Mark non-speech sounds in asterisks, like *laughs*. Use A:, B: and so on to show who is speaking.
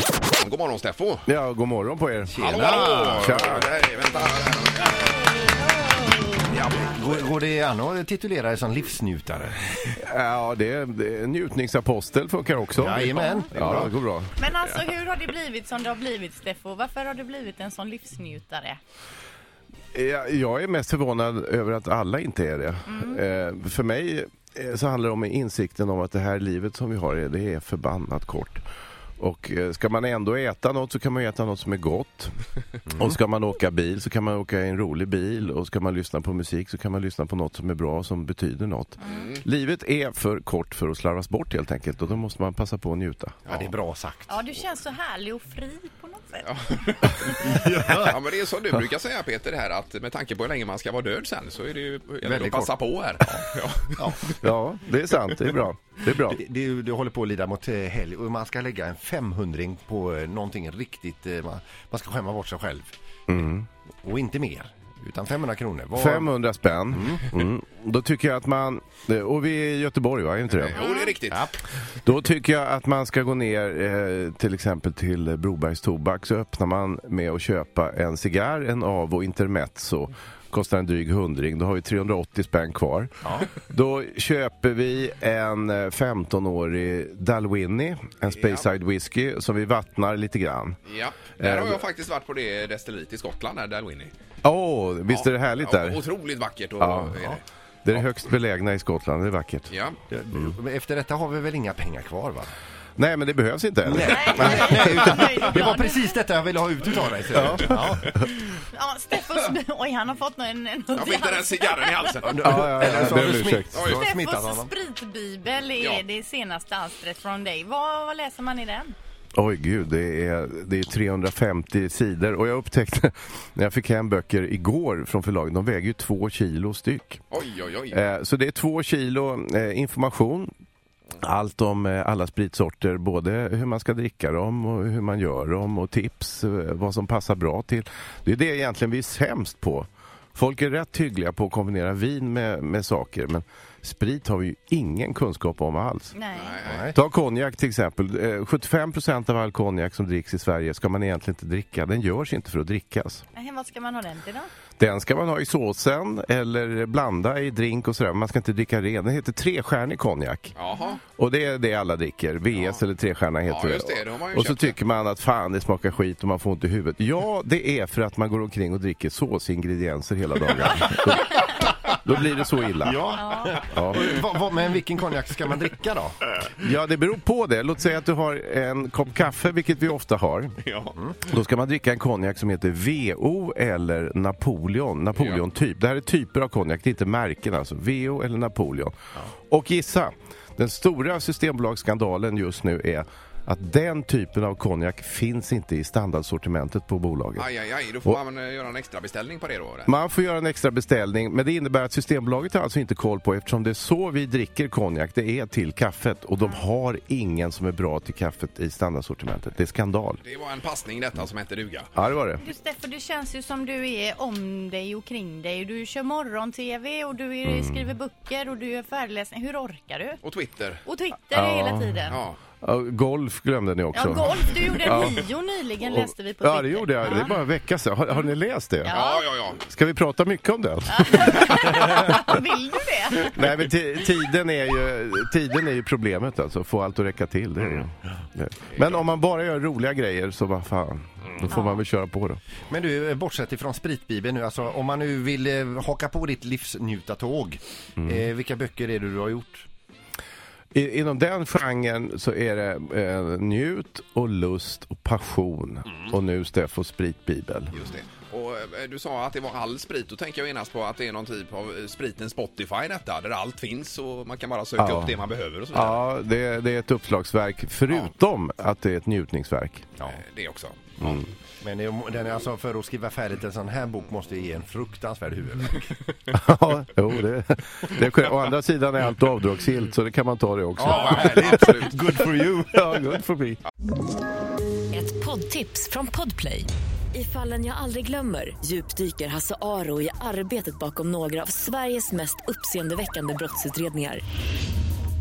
A: Steffo. God morgon Steffo!
B: Ja, god morgon på er.
A: Hallå, hallå!
B: Tja.
A: Nej, vänta.
B: *laughs*
A: Ja,
C: Går, går det an att titulera dig som livsnjutare?
B: Ja, det är, det är njutningsapostel funkar också.
C: Jajamän.
B: Ja, det går bra.
D: Men alltså hur har det blivit som det har blivit Steffo? Varför har du blivit en sån livsnjutare?
B: Jag, jag är mest förvånad över att alla inte är det. Eh, för mig eh, så handlar det om insikten om att det här livet som vi har, det är förbannat kort. Och eh, ska man ändå äta något så kan man ju äta något som är gott. Och ska man åka bil så kan man åka i en rolig bil. Och ska man lyssna på musik så kan man lyssna på något som är bra och som betyder något. Livet är för kort för att slarvas bort helt enkelt. Och då måste man passa på att njuta.
C: Ja, det är bra sagt.
D: Ja, du känns så härlig och fri på något sätt.
A: ja, men det är som du brukar säga Peter här att med tanke på hur länge man ska vara död sen så är det ju gäller det att
C: Väldigt
A: passa på här. *laughs* Ja.
B: Ja, det är sant. Det är bra. Det är bra.
C: Det, det, du håller på att lida mot eh, helg och man ska lägga en 500 på eh, någonting riktigt. eh, Man, man ska skämma bort sig själv.
B: Mm.
C: Och inte mer. Utan 500 kronor. Vad-
B: 500 spänn. Mm. Då tycker jag att man... eh, Och vi är i Göteborg, va? Är inte det?
A: *laughs* Jo, det är riktigt.
C: Ja.
B: Då tycker jag att man ska gå ner eh, till exempel till Brobergs Tobak så öppnar man med att köpa en cigarr, en Avo Intermezzo. Kostar en dryg hundring, då har vi 380 spänn kvar. Då köper vi en eh, 15-årig Dalwhinnie, en Speyside whisky, som vi vattnar lite grann.
A: Ja, där har
B: Eh,
A: jag faktiskt varit på det destilleriet i Skottland, där Dalwhinnie.
B: Åh, visst är det härligt
A: Ja,
B: där?
A: Otroligt vackert. Och,
B: Ja.
A: är det.
B: Det är det högst belägna i Skottland, det är vackert.
A: ja.
C: Det-
B: Mm.
C: men eh, Efter detta har vi väl inga pengar kvar va?
B: Nej, men det behövs inte heller.
C: Nej, utan,
D: Nöjd och
C: det var
D: glad.
C: precis detta jag ville ha ut utav dig. Ja. Ja.
D: Ja, Steffos... Oj, han har fått någon... en-
A: Jag fick den där cigarren i halsen.
B: Ja, ja, ja,
C: Eller så
B: det
C: har
B: är
C: du
B: en
C: smitt,
B: ursäkt.
C: du har smittat
D: Steffos
C: honom.
D: spritbibel är
A: Ja.
D: det senaste alstret från dig. Vad, vad läser man i den?
B: Oj gud, det är, det är 350 sidor och jag upptäckte *laughs* när jag fick hem böcker igår från förlaget, de väger ju två kilo styck.
A: Oj, oj, oj.
B: Eh, så det är två kilo eh, information. Allt om eh, alla spritsorter, både hur man ska dricka dem och hur man gör dem och tips, eh, vad som passar bra till. Det är det egentligen vi är sämst på. Folk är rätt hyggliga på att kombinera vin med, med saker men sprit har vi ju ingen kunskap om alls.
D: Nej.
C: Nej.
B: Ta konjak till exempel. Eh, 75% av all konjak som dricks i Sverige ska man egentligen inte dricka. Den görs inte för att drickas.
D: Nej. Vad ska man ha den till då?
B: Den ska man ha i såsen eller blanda i drink och sådär. Men Man ska inte dricka ren. Den heter trestjärnig konjak.
A: Jaha.
B: Och det är det alla dricker. VS eller trestjärna heter
A: Ja, just det. Det har man ju
B: Och så
A: köpt det.
B: tycker man att fan det smakar skit och man får inte i huvudet. Ja, det är för att man går omkring och dricker såsingredienser
A: *laughs*
B: hela dagen. då, då blir det så illa.
C: Ja.
B: Ja.
C: Vad- vad- Men vilken konjak ska man dricka då?
B: Ja, det beror på det. Låt säga att du har en kopp kaffe, vilket vi ofta har. Mm.
A: Ja.
B: Då ska man dricka en konjak som heter VO eller Napoleon. Napoleon-typ. Det här är typer av konjak, det är inte märken alltså. VO eller Napoleon. Och gissa, den stora systembolagsskandalen just nu är att den typen av konjak finns inte i standardsortimentet på bolaget.
A: Aj, aj, aj. Då får man eh, göra en extra beställning på det då. eller?
B: Man får göra en extra beställning, men det innebär att Systembolaget har alltså inte koll på eftersom det är så vi dricker konjak, det är till kaffet och de har ingen som är bra till kaffet i standardsortimentet. Det är skandal.
A: Det var en passning detta som hette duga.
B: Ja, det var det.
D: Du Steffo, det känns ju som du är om dig och kring dig. Du kör morgon-tv och du
C: Mm.
D: är, skriver böcker och du gör föreläsningar. Hur orkar du?
A: Och Twitter.
D: Och Twitter hela tiden.
A: Ja.
D: Ja.
B: Ja, Golf glömde ni också.
D: golf, du gjorde en nio nyligen läste vi på Twitter.
B: Ja, det gjorde jag. Det är bara en vecka sedan. Har, har ni läst det?
D: Ja.
A: Ja, ja, ja.
B: Ska vi prata mycket om det?
D: Ja. Vill du det?
B: *laughs* Nej, men ti- tiden är, ju, tiden är ju problemet alltså. Få allt att räcka till. Det är ju. det. Men om man bara gör roliga grejer så vad fan, då får man väl köra på då.
C: Men du, eh, bortsett ifrån spritbibeln nu, alltså om man nu vill eh, haka på ditt livsnjutartåg, eh, vilka böcker är det du har gjort?
B: I, inom den genren så är det eh, njut och lust och passion. Och nu Steffo spritbibel.
A: Just det. Och eh, du sa att det var all sprit. Då tänker jag genast på att det är någon typ av eh, spriten Spotify detta, där allt finns och man kan bara söka
B: Ja.
A: upp det man behöver och så vidare.
B: Ja, det, det är ett uppslagsverk förutom att det är ett njutningsverk.
C: Ja.
A: Eh, Det också.
C: Men det- den är alltså för att skriva färdigt en sån här bok måste ge en fruktansvärd huvudvärk.
B: *laughs* Ja, jo, det, det, är korrekt. å andra sidan är allt avdragsgillt så det kan man ta det också.
A: Ja, vad härligt, absolut.
C: Good for you!
B: Ja, good for me.
E: Ett poddtips från Podplay. I fallen jag aldrig glömmer djupdyker Hasse Aro i arbetet bakom några av Sveriges mest uppseendeväckande brottsutredningar.